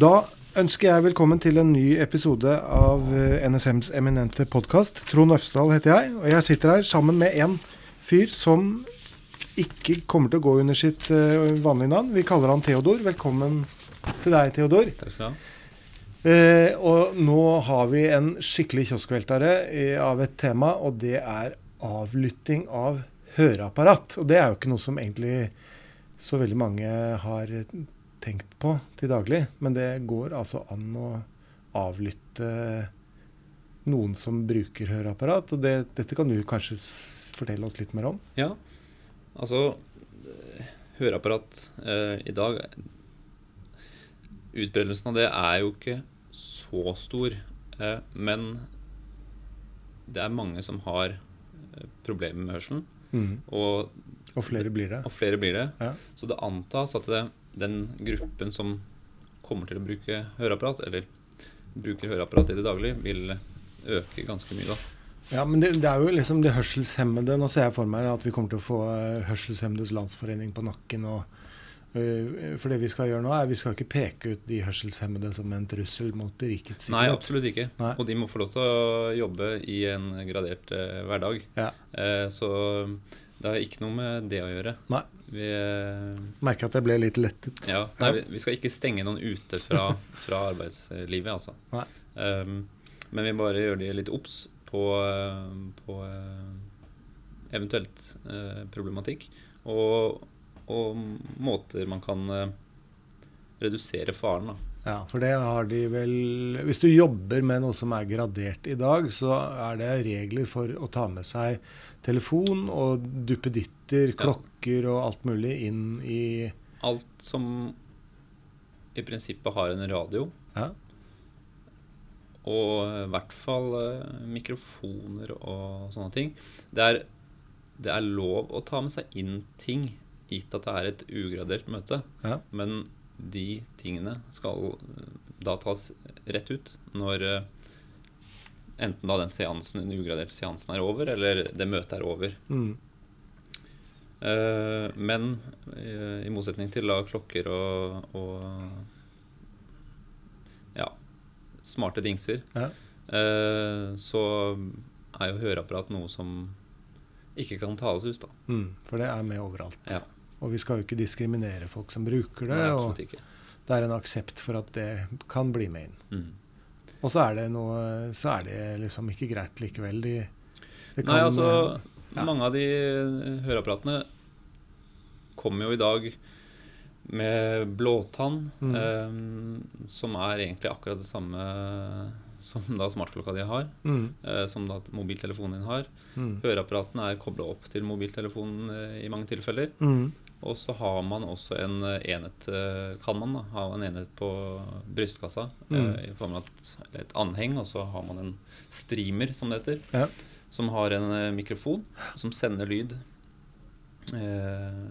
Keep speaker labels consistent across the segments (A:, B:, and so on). A: Da ønsker jeg velkommen til en ny episode av eh, NSMs eminente podkast. Trond Øfsdal heter jeg, og jeg sitter her sammen med en fyr som ikke kommer til å gå under sitt eh, vanlige navn. Vi kaller han Theodor. Velkommen til deg, Theodor.
B: Takk skal du ha.
A: Eh, og nå har vi en skikkelig kioskveltere eh, av et tema, og det er avlytting av høreapparat. Og det er jo ikke noe som egentlig så veldig mange har tenkt på til daglig, men det går altså an å avlytte noen som bruker høreapparat, og det, dette kan du kanskje s fortelle oss litt mer om?
B: Ja, altså eh, Høreapparat eh, i dag Utbredelsen av det er jo ikke så stor. Eh, men det er mange som har eh, problemer med hørselen, og,
A: Og flere blir det.
B: og flere blir det.
A: Ja.
B: Så det antas at det, den gruppen som kommer til å bruke høreapparat, eller bruker høreapparat i det daglige, vil øke ganske mye da.
A: Ja, men det, det er jo liksom det hørselshemmede. Nå ser jeg for meg at vi kommer til å få eh, Hørselshemmedes Landsforening på nakken. Og, eh, for det vi skal gjøre nå, er vi skal ikke peke ut de hørselshemmede som en trussel mot rikets
B: Nei,
A: sikkerhet.
B: absolutt ikke.
A: Nei.
B: Og de må få lov til å jobbe i en gradert eh, hverdag.
A: Ja.
B: Eh, så det har ikke noe med det å gjøre.
A: Nei.
B: Vi, eh,
A: Merker at jeg ble litt lettet.
B: ja, nei, vi- vi skal ikke stenge noen ute fra, fra arbeidslivet, altså.
A: Nei.
B: Um, men vi bare gjør de litt obs på, eh, på eh, eventuelt eh, problematikk. Og, og måter man kan eh, redusere faren da.
A: Ja, for det har de vel Hvis du jobber med noe som er gradert i dag, så er det regler for å ta med seg telefon og duppeditter,
B: Ja.
A: klokker og alt mulig inn i
B: Alt som i prinsippet har en radio,
A: Ja.
B: og i hvert fall eh, mikrofoner og sånne ting det er, det er lov å ta med seg inn ting, gitt at det er et ugradert møte.
A: Ja.
B: Men de tingene skal eh, da tas rett ut når eh, enten da den seansen, den ugraderte seansen er over, eller det møtet er over.
A: Mm.
B: Eh, men eh, i motsetning til da klokker og, og ja, smarte dingser,
A: Ja.
B: eh, så er jo høreapparat noe som ikke kan tales ut, da.
A: Mm. For det er med overalt.
B: Ja.
A: Og vi skal jo ikke diskriminere folk som bruker det.
B: Nei,
A: og
B: absolutt ikke.
A: det er en aksept for at det kan bli med inn.
B: Mm.
A: Og så er det noe Så er det liksom ikke greit likevel. De, det eh,
B: Nei, altså,
A: ja.
B: mange av de eh, høreapparatene kommer jo i dag med blåtann,
A: Mm.
B: eh, som er egentlig akkurat det samme som da smartklokka di har.
A: mm,
B: eh, som da mobiltelefonen din har.
A: mm,
B: Høreapparatene er kobla opp til mobiltelefonen eh, i mange tilfeller.
A: mm,
B: Og så har man også en eh, enhet eh, Kan man da ha en enhet på brystkassa
A: Mm.
B: eh, i form av et, eller et anheng, og så har man en streamer, som det heter,
A: Ja.
B: som har en eh, mikrofon som sender lyd. Eh,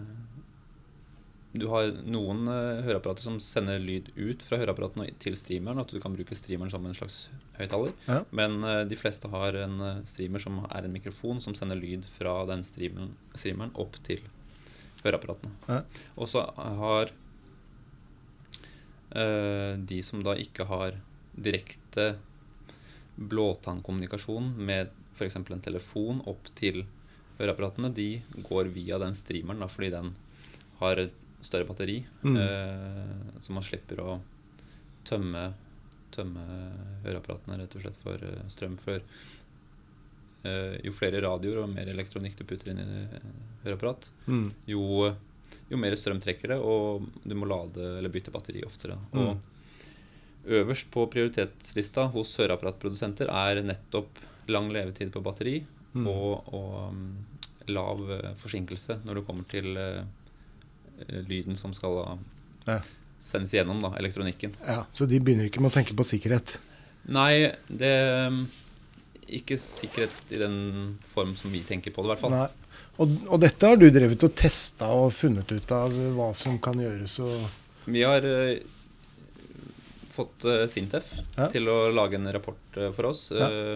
B: du har noen eh, høreapparater som sender lyd ut fra høreapparatene og til streameren, at du kan bruke streameren som en slags høyttaler.
A: Ja.
B: Men eh, de fleste har en eh, streamer som er en mikrofon som sender lyd fra den streameren, streameren opp til høreapparatene.
A: Ja.
B: Og så har eh, de som da ikke har direkte blåtannkommunikasjon med f.eks. en telefon opp til høreapparatene, de går via den streameren da, fordi den har et større batteri,
A: Mm.
B: eh, så man slipper å tømme, tømme høreapparatene rett og slett for eh, strøm. For eh, jo flere radioer og mer elektronikk du putter inn i eh, høreapparat,
A: mm,
B: jo, jo mer strøm trekker det, og du må lade eller bytte batteri oftere. Og
A: Mm.
B: øverst på prioritetslista hos høreapparatprodusenter er nettopp lang levetid på batteri
A: mm.
B: og, og um, lav eh, forsinkelse når det kommer til eh, eh, lyden som skal da
A: Ja.
B: sendes gjennom da, elektronikken.
A: ja, Så de begynner ikke med å tenke på sikkerhet.
B: Nei, det um, ikke sikkerhet i den form som vi tenker på det, i hvert fall.
A: Nei. Og, og dette har du drevet og testa og funnet ut av hva som kan gjøres og
B: Vi har eh, fått eh, Sintef
A: Ja.
B: til å lage en rapport eh, for oss.
A: Ja.
B: eh,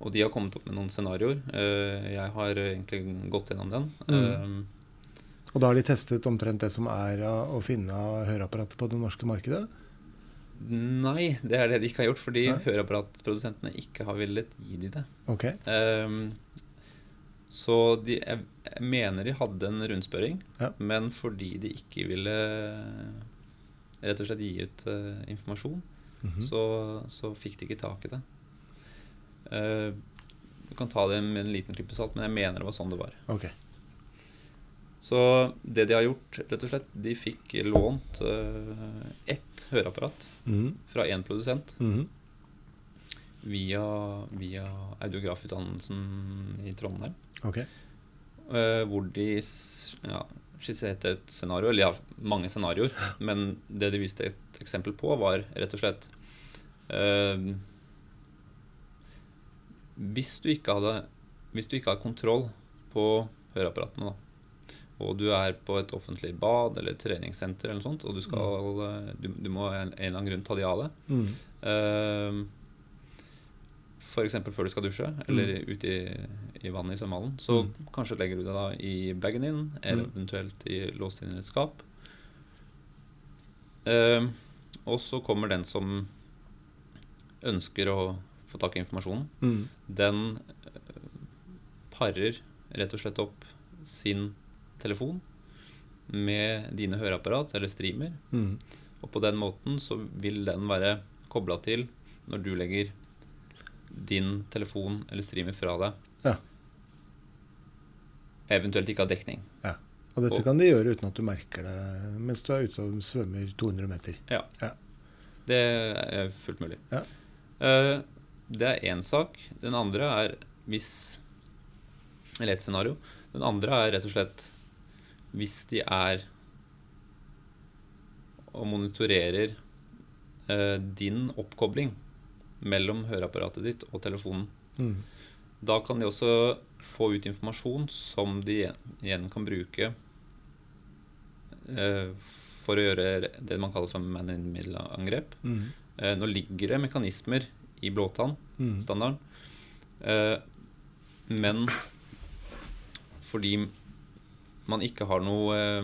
B: og de har kommet opp med noen scenarioer. Eh, jeg har egentlig gått gjennom den.
A: Mhm.
B: Eh,
A: Og da har de testet omtrent det som er av å finne av høreapparater på det norske markedet?
B: Nei, det er det de ikke har gjort, fordi
A: Nei.
B: høreapparatprodusentene ikke har villet gi de det.
A: Ok.
B: Ehm, så de, jeg, jeg mener de hadde en rundspørring,
A: Ja.
B: men fordi de ikke ville rett og slett gi ut eh, informasjon,
A: Mhm.
B: så, så fikk de ikke tak i det. Eh, du kan ta det med en liten klype salt, men jeg mener det var sånn det var.
A: Ok.
B: Så det de har gjort, rett og slett, de fikk lånt eh, ett høreapparat
A: Mhm.
B: fra én produsent
A: Mhm.
B: via, via audiografutdannelsen i Trondheim.
A: Ok.
B: Eh, hvor de s- ja, skisserte et scenario, eller ja, mange scenarioer. Men det de viste et eksempel på, var rett og slett eh, Hvis du ikke hadde Hvis du ikke har kontroll på høreapparatene, da, og du er på et offentlig bad eller et treningssenter eller noe sånt, og du, skal, eh, du, du må av en, en eller annen grunn ta de av deg
A: Mhm.
B: Eh, For F.eks. før du skal dusje, eller ute i, i vannet i svømmehallen. Så kanskje legger du det da i bagen din, eller
A: Mm.
B: eventuelt i låst inn i et skap. Eh, og så kommer den som ønsker å få tak i informasjonen.
A: Mhm.
B: Den eh, parer rett og slett opp sin telefon med dine høreapparat eller streamer.
A: Mhm.
B: Og på den måten så vil den være kobla til når du legger din telefon eller streamer fra deg.
A: Ja.
B: Eventuelt ikke har dekning.
A: Og dette
B: Og-
A: kan de gjøre uten at du merker det mens du er ute og svømmer 200 meter.
B: Det er fullt mulig.
A: Ja.
B: Eh, Det er én sak. Den andre er hvis Eller ett scenario. Den andre er rett og slett hvis de er og monitorerer eh, din oppkobling mellom høreapparatet ditt og telefonen.
A: Mhm.
B: Da kan de også få ut informasjon som de igjen- igjen kan bruke eh, for å gjøre det man kaller for man in the middle-angrep.
A: Mhm.
B: Eh, nå ligger det mekanismer i blåtannstandarden,
A: Mhm.
B: eh, men fordi man ikke har noe eh,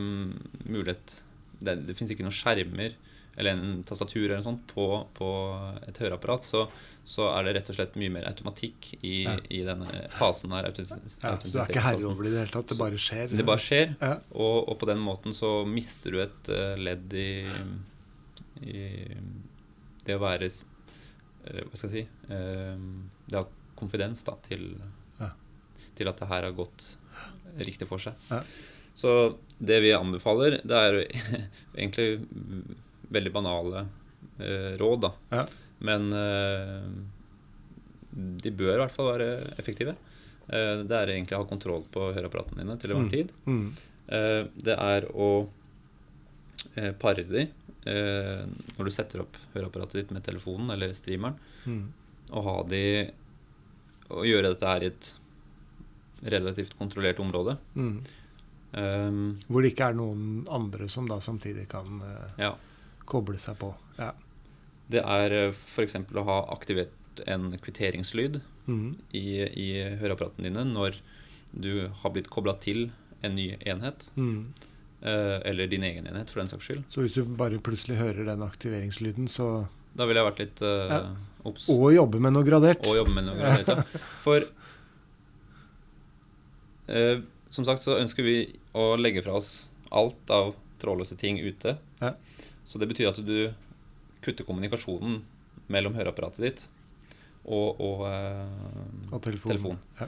B: mulighet Det, det fins ikke noen skjermer eller en tastatur eller noe sånt på, på et høreapparat, så, så er det rett og slett mye mer automatikk i,
A: Ja.
B: i denne fasen her.
A: Ja, så du er ikke herre over det i det hele tatt? Det bare skjer?
B: Det bare skjer,
A: Ja.
B: og, og på den måten så mister du et eh, ledd i, i det å være s- eh, Hva skal jeg si eh, Det har konfidens da, til,
A: Ja.
B: til at det her har gått riktig for seg.
A: Ja.
B: Så det vi anbefaler, det er jo egentlig mm, veldig banale eh, råd, da.
A: Ja.
B: Men eh, de bør i hvert fall være effektive. Eh, det er egentlig å ha kontroll på høreapparatene dine til enhver
A: Mm.
B: tid.
A: Mhm.
B: Eh, Det er å eh, pare de eh, når du setter opp høreapparatet ditt med telefonen eller streameren,
A: Mhm.
B: og ha de og gjøre dette her i et relativt kontrollert område.
A: Mhm.
B: Ehm,
A: Hvor det ikke er noen andre som da samtidig kan eh,
B: ja.
A: koble seg på. Ja.
B: Det er f.eks. å ha aktivert en kvitteringslyd
A: Mhm.
B: i, i høreapparatene dine når du har blitt kobla til en ny enhet,
A: Mhm.
B: eh, eller din egen enhet for den saks skyld.
A: Så hvis du bare plutselig hører den aktiveringslyden, så
B: Da ville jeg vært litt eh,
A: Ja.
B: obs.
A: Og jobbe med noe gradert.
B: Og jobbe med noe greier. Ja. For eh, som sagt så ønsker vi å legge fra oss alt av trådløse ting ute.
A: Ja.
B: Så det betyr at du kutter kommunikasjonen mellom høreapparatet ditt og, og, eh,
A: Og telefon.
B: Telefon.
A: Ja.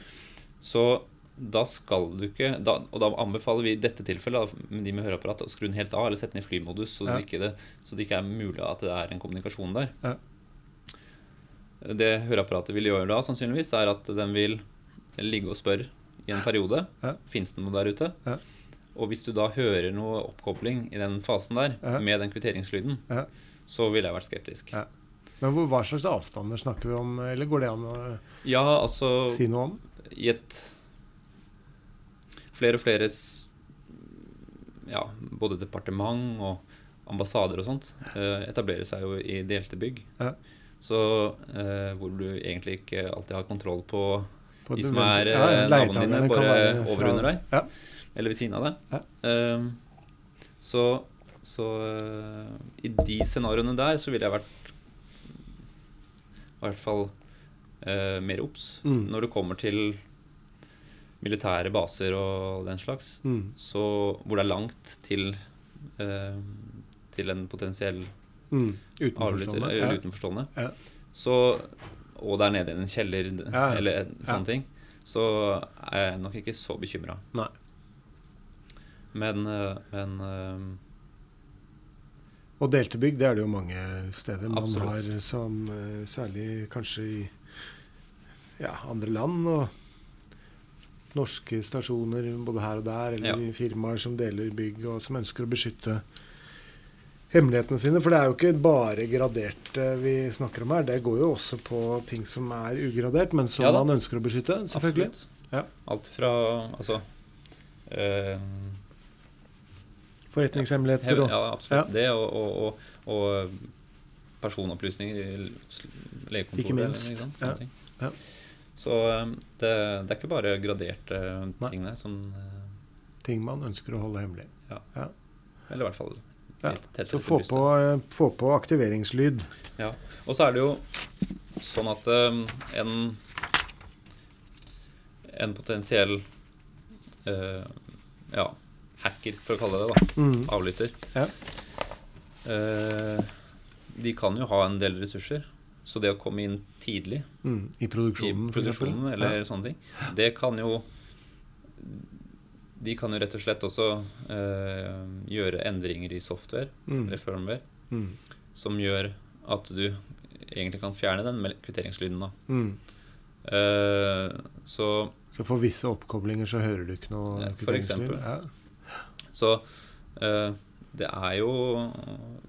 B: Så da skal du ikke da, Og da anbefaler vi i dette tilfellet da, med de med høreapparat å skru den helt av eller sette den i flymodus, så,
A: Ja.
B: det ikke det, så det ikke er mulig at det er en kommunikasjon der.
A: Ja.
B: Det høreapparatet vil gjøre da, sannsynligvis, er at den vil ligge og spørre i en periode.
A: Ja.
B: Fins det noe der ute?
A: Ja.
B: Og hvis du da hører noe oppkobling i den fasen der,
A: Ja.
B: med den kvitteringslyden,
A: Ja.
B: så ville jeg vært skeptisk.
A: Ja. Men hvor, hva slags avstander snakker vi om, eller går det an å
B: Ja, altså
A: si noe om?
B: i et flere og flere s- ja, både departement og ambassader og sånt eh, etablerer seg jo i delte bygg.
A: Ja.
B: Så eh, hvor du egentlig ikke alltid har kontroll på
A: På
B: de
A: et-
B: som er
A: ja,
B: eh, naboene
A: leietakerne
B: dine,
A: kan
B: bare
A: være
B: over
A: fra-
B: under deg.
A: Ja.
B: Eller ved siden av deg. Ehm, så så eh, i de scenarioene der så ville jeg vært i hvert fall eh, mer obs.
A: Mm.
B: Når det kommer til militære baser og den slags,
A: Mm.
B: så, hvor det er langt til, eh, til en potensiell
A: Mm.
B: avlytter
A: Utenforstående.
B: eller
A: Ja.
B: utenforstående,
A: Ja.
B: så, og det er nede i en kjeller d-
A: Ja, ja.
B: eller en
A: Ja.
B: sånne ting, så er jeg nok ikke så bekymra.
A: Nei.
B: Men, eh, men eh,
A: Og delte bygg, det er det jo mange steder man
B: Absolutt.
A: har som eh, særlig kanskje i ja, andre land og norske stasjoner både her og der, eller
B: Ja.
A: i firmaer som deler bygg og som ønsker å beskytte hemmelighetene sine. For det er jo ikke bare graderte vi snakker om her, det går jo også på ting som er ugradert, men som
B: Ja da.
A: man ønsker å beskytte, selvfølgelig.
B: Absolutt.
A: Ja.
B: Alt fra altså eh,
A: Forretningshemmeligheter
B: hev,
A: og
B: Ja, absolutt. Det og, og, og, og personopplysninger i l- s- legekontoret.
A: Ikke minst,
B: eller, sant,
A: ja.
B: sånne ting.
A: Ja.
B: Så eh, det, det er ikke bare graderte
A: Nei.
B: ting der. Som, eh,
A: ting man ønsker å holde hemmelig.
B: eller i hvert fall
A: Ja,
B: litt tett
A: Så
B: etter
A: få
B: brystet.
A: på, eh, få på aktiveringslyd.
B: Og så er det jo sånn at eh, en en potensiell eh, ja, hacker, for å kalle det det, da.
A: Mm.
B: avlytter.
A: Ja.
B: Eh, de kan jo ha en del ressurser, så det å komme inn tidlig
A: Mm, I
B: i
A: produksjonen, for eksempel.
B: produksjonen eller sånne ting, det kan jo De kan jo rett og slett også eh, gjøre endringer i software,
A: ja. mm,
B: eller firmware,
A: mm,
B: som gjør at du egentlig kan fjerne den mel- kvitteringslyden. da.
A: mm.
B: Eh, så
A: Så for visse oppkoblinger så hører du ikke noe
B: Ja, for
A: kvitteringslyd.
B: eksempel.
A: Ja.
B: Så eh, det er jo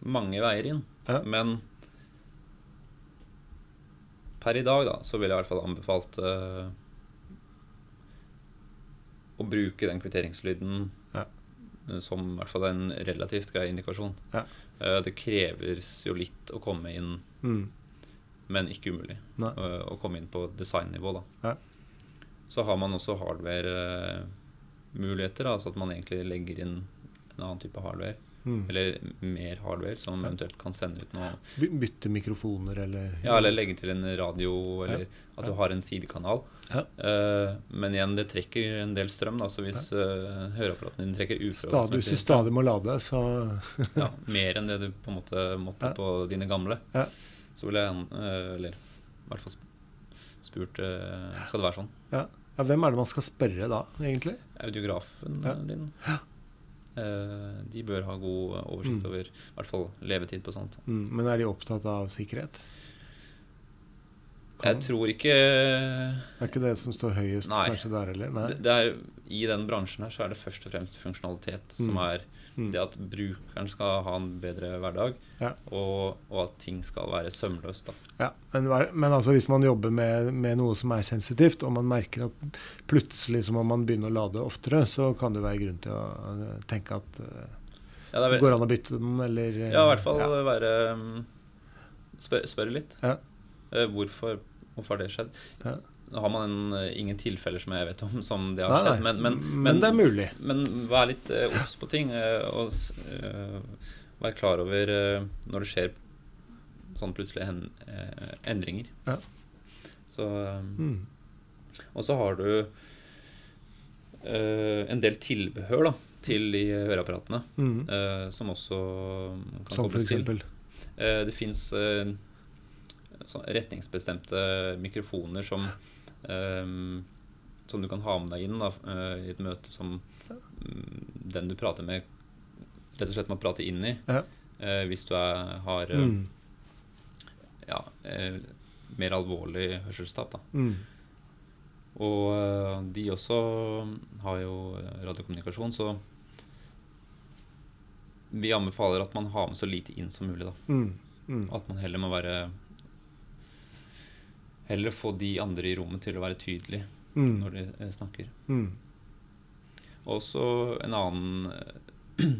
B: mange veier inn.
A: Ja.
B: Men per i dag, da, så ville jeg i hvert fall anbefalt eh, å bruke den kvitteringslyden
A: Ja.
B: eh, som i hvert fall en relativt grei indikasjon.
A: Ja.
B: Eh, det kreves jo litt å komme inn,
A: Mm,
B: men ikke umulig,
A: Nei.
B: eh, å komme inn på designnivå, da.
A: Ja.
B: Så har man også hardware-muligheter, altså at man egentlig legger inn en annen type hardware.
A: mm.
B: Eller mer hardware som
A: Ja.
B: eventuelt kan sende ut noe.
A: By- Bytte mikrofoner eller
B: Ja, eller legge til en radio, eller at du
A: Ja.
B: har en sidekanal.
A: Ja.
B: Eh, men igjen, det trekker en del strøm, da, så hvis uh, høreapparaten din trekker
A: Stadig, Hvis du
B: uforholdsmessig
A: stadig må lade, så
B: ja, mer enn det du på en måte måtte
A: Ja.
B: på dine gamle,
A: Ja.
B: så ville jeg eh, Eller i hvert fall sp- spurt eh, Skal det være sånn?
A: ja, Hvem er det man skal spørre da, egentlig?
B: Audiografen
A: Ja.
B: eh, din, eh, de bør ha god oversikt
A: Mm.
B: over i hvert fall levetid på sånt.
A: Mm, men er de opptatt av sikkerhet? Kan-
B: Jeg tror ikke
A: Det er ikke det som står høyest
B: Nei.
A: kanskje der heller? Nei.
B: Det, det er, I den bransjen her så er det først og fremst funksjonalitet som
A: Mm.
B: er
A: Mm.
B: det at brukeren skal ha en bedre hverdag,
A: Ja.
B: og, og at ting skal være sømløst. Da.
A: Ja, men, hva- men altså hvis man jobber med, med noe som er sensitivt, og man merker at plutselig så må man begynne å lade oftere, så kan det være grunn til å eh, tenke at eh,
B: Ja, det er
A: det
B: vel,
A: går an å bytte den, eller eh,
B: ja, i hvert fall
A: ja.
B: være um, spør, Spørre litt.
A: Ja.
B: Eh, Hvorfor, hvorfor har det skjedd?
A: Ja.
B: Nå har man en, eh, ingen tilfeller som jeg vet om som det har
A: Nei,
B: skjedd,
A: nei,
B: men, men,
A: det er mulig.
B: Men vær litt eh, obs på ting, eh, og s- eh, vær klar over eh, når det skjer sånn plutselig hen, eh, endringer.
A: Ja.
B: Så, eh,
A: Mm.
B: og så har du eh, en del tilbehør da, til de høreapparatene,
A: Mm.
B: eh, som også kan
A: Som Sånn for
B: kobles til.
A: eksempel.
B: Eh, det fins eh, sånn retningsbestemte mikrofoner som eh, Som du kan ha med deg inn da, eh, i et møte som mm, den du prater med, rett og slett må prate inn i.
A: Ja.
B: Eh, hvis du er, har eh,
A: Mm.
B: ja, eh, mer alvorlig hørselstap, da.
A: Mm.
B: Og eh, de også har jo radiokommunikasjon, så vi anbefaler at man har med så lite inn som mulig, da.
A: Mm. Mm.
B: At man heller må være Heller få de andre i rommet til å være tydelige
A: Mm.
B: når de eh, snakker.
A: Mm.
B: Og så en annen eh,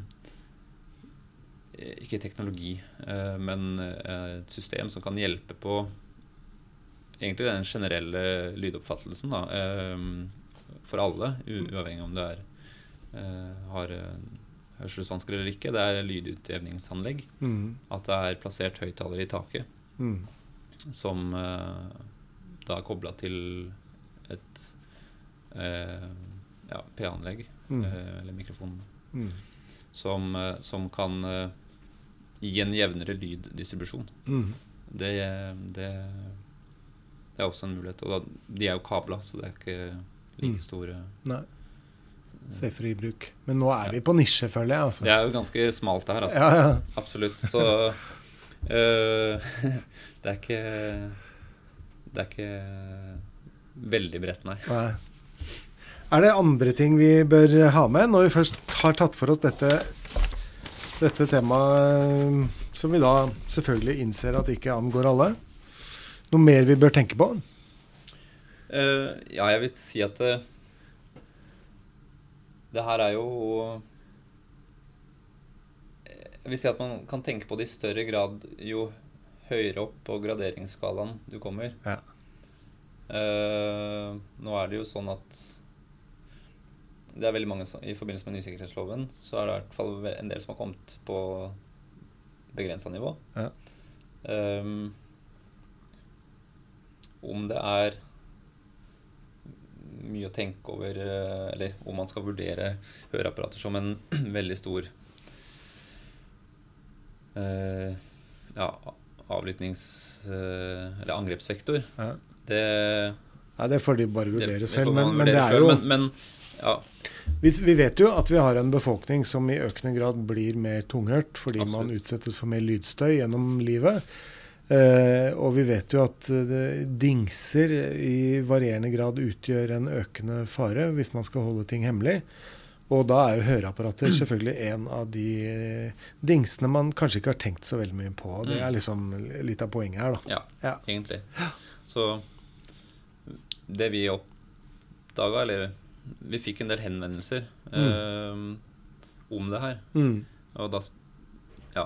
B: Ikke teknologi, eh, men eh, et system som kan hjelpe på egentlig den generelle lydoppfattelsen da, eh, for alle, u- uavhengig om du er eh, har eh, hørselsvansker eller ikke. Det er lydutjevningsanlegg.
A: Mm.
B: At det er plassert høyttalere i taket
A: Mm.
B: som eh, da er kobla til et eh, ja, P-anlegg
A: Mm.
B: eh, eller mikrofon
A: Mm.
B: som, eh, som kan eh, gi en jevnere lyddistribusjon.
A: Mm.
B: Det, det, det er også en mulighet. Og da, de er jo kabla, så det er ikke
A: Mm.
B: like store
A: Nei. Se fri bruk. Men nå er vi på nisje, føler jeg. Altså.
B: Det er jo ganske smalt det her, altså.
A: Ja, ja.
B: Absolutt. Så øh, det er ikke Det er ikke veldig bredt, nei.
A: Nei. Er det andre ting vi bør ha med når vi først har tatt for oss dette, dette temaet, eh, som vi da selvfølgelig innser at ikke angår alle? Noe mer vi bør tenke på?
B: Eh, ja, jeg vil si at det, det her er jo Jeg vil si at man kan tenke på det i større grad jo høyere opp på graderingsskalaen du kommer.
A: Ja.
B: Eh, nå er det jo sånn at det er veldig mange som, I forbindelse med nysikkerhetsloven så er det i hvert fall ve- en del som har kommet på begrensa nivå.
A: Ja.
B: Ehm, om det er mye å tenke over eh, Eller om man skal vurdere høreapparater som en veldig stor eh, ja, avlytnings... eh, eller angrepsvektor.
A: Ja.
B: Det
A: Nei, det får de bare
B: det-
A: vurdere
B: det
A: selv.
B: får
A: Men,
B: man
A: men det
B: vurdere
A: er
B: selv,
A: jo
B: men, men ja,
A: vi, vi vet jo at vi har en befolkning som i økende grad blir mer tunghørt fordi man
B: Absolutt.
A: utsettes for mer lydstøy gjennom livet. Eh, og vi vet jo at eh, det- dingser i varierende grad utgjør en økende fare hvis man skal holde ting hemmelig. Og da er jo høreapparater selvfølgelig en av de eh, dingsene man kanskje ikke har tenkt så veldig mye på. Det
B: Mm.
A: er liksom litt av poenget her, da.
B: ja,
A: Ja.
B: egentlig. Så det vi oppdaga, eller Vi fikk en del henvendelser eh, om det her.
A: Mm.
B: Og da sp- Ja.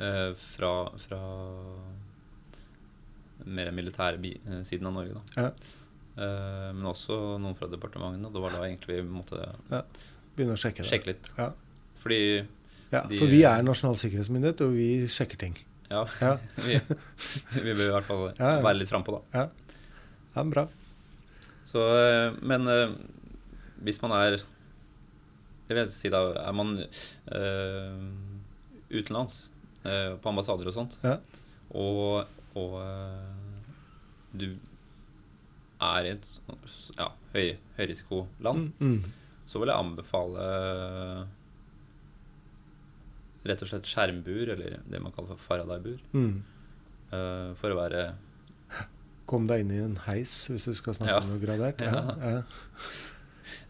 B: eh, fra, fra mer militære bi- eh, siden av Norge, da.
A: Ja.
B: Eh, men også noen fra departementene. og Det var da egentlig vi måtte
A: Begynne å sjekke det.
B: sjekke litt.
A: Ja.
B: Fordi
A: Ja,
B: de-
A: for vi er Nasjonal sikkerhetsmyndighet, og vi sjekker ting.
B: Ja.
A: Ja.
B: vi, vi bør i hvert fall
A: Ja, ja.
B: være litt frampå, da.
A: Ja, bra.
B: Så, eh, men eh, hvis man er Jeg vil si da Er man eh, utenlands, eh, på ambassader og sånt,
A: Ja.
B: og, og eh, du er i et sånt- ja, høy, høyrisikoland,
A: Mm.
B: så vil jeg anbefale rett og slett skjermbur, eller det man kaller for Faraday-bur,
A: Mm.
B: eh, for å være
A: Kom deg inn i en heis hvis du skal snakke
B: Ja.
A: om noe gradert. Ja. Ja.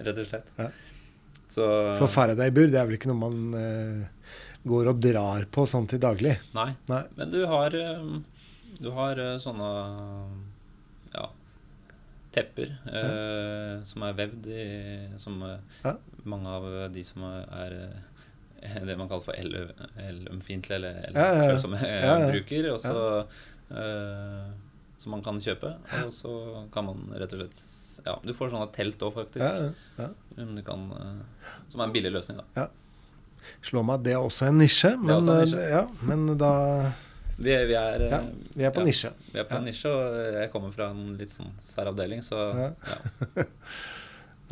B: Rett og slett.
A: Ja.
B: Så
A: For Faraday-bur, det er vel ikke noe man eh, går og drar på sånn til daglig?
B: Nei.
A: Nei.
B: Men du har eh, Du har eh, sånne Ja Tepper eh, som er vevd i Som eh,
A: Ja.
B: mange av de som er eh, det man kaller for el- elømfintlige eller
A: Ja, ja, ja.
B: elfølsomme eh,
A: Ja, ja.
B: bruker, og så eh, som man kan kjøpe. Og så kan man rett og slett s- Ja, du får sånne telt òg, faktisk.
A: Ja, ja.
B: Som Du kan, eh, som er en billig løsning, da.
A: Slår meg at det er også en nisje, men,
B: også en nisje.
A: eh, Ja, men da
B: Vi er, vi er, eh,
A: Ja, Vi er på
B: ja.
A: nisje.
B: Vi er på en nisje, og jeg kommer fra en litt sånn særavdeling, så
A: Ja.
B: ja.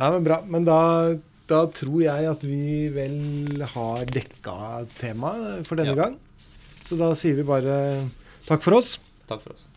A: Nei, men bra. Men da, da tror jeg at vi vel har dekka temaet for denne
B: Ja.
A: gang. Så da sier vi bare takk for oss.
B: takk for oss.